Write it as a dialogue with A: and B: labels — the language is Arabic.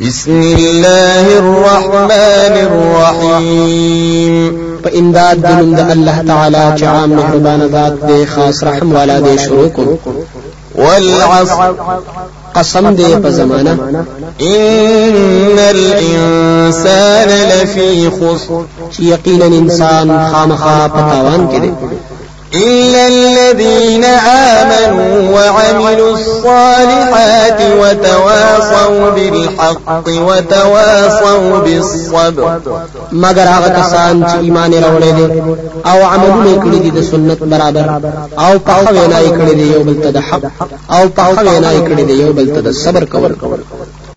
A: بسم الله الرحمن الرحیم
B: په امداد د نوم د الله تعالی چې عام مهربان ذات دی خاص رحم والا دی شروع کو
A: والعصر
B: قسم دی په زمانہ
A: إن الإنسان لفي خسر
B: چې یقینا انسان خامخا په تاوان کې دی
A: إلا الذين آمنوا وعملوا الصالحات وتواصوا بالحق وتواصوا بالصبر
B: مگر هغه کسان چې ایمان راوړی دی او عملونه یې کړی دي د سنت برابر او په هغه وینا یې کړی دی یو بل ته د حق او په هغه وینا یې کړی دی یو بل ته د صبر کول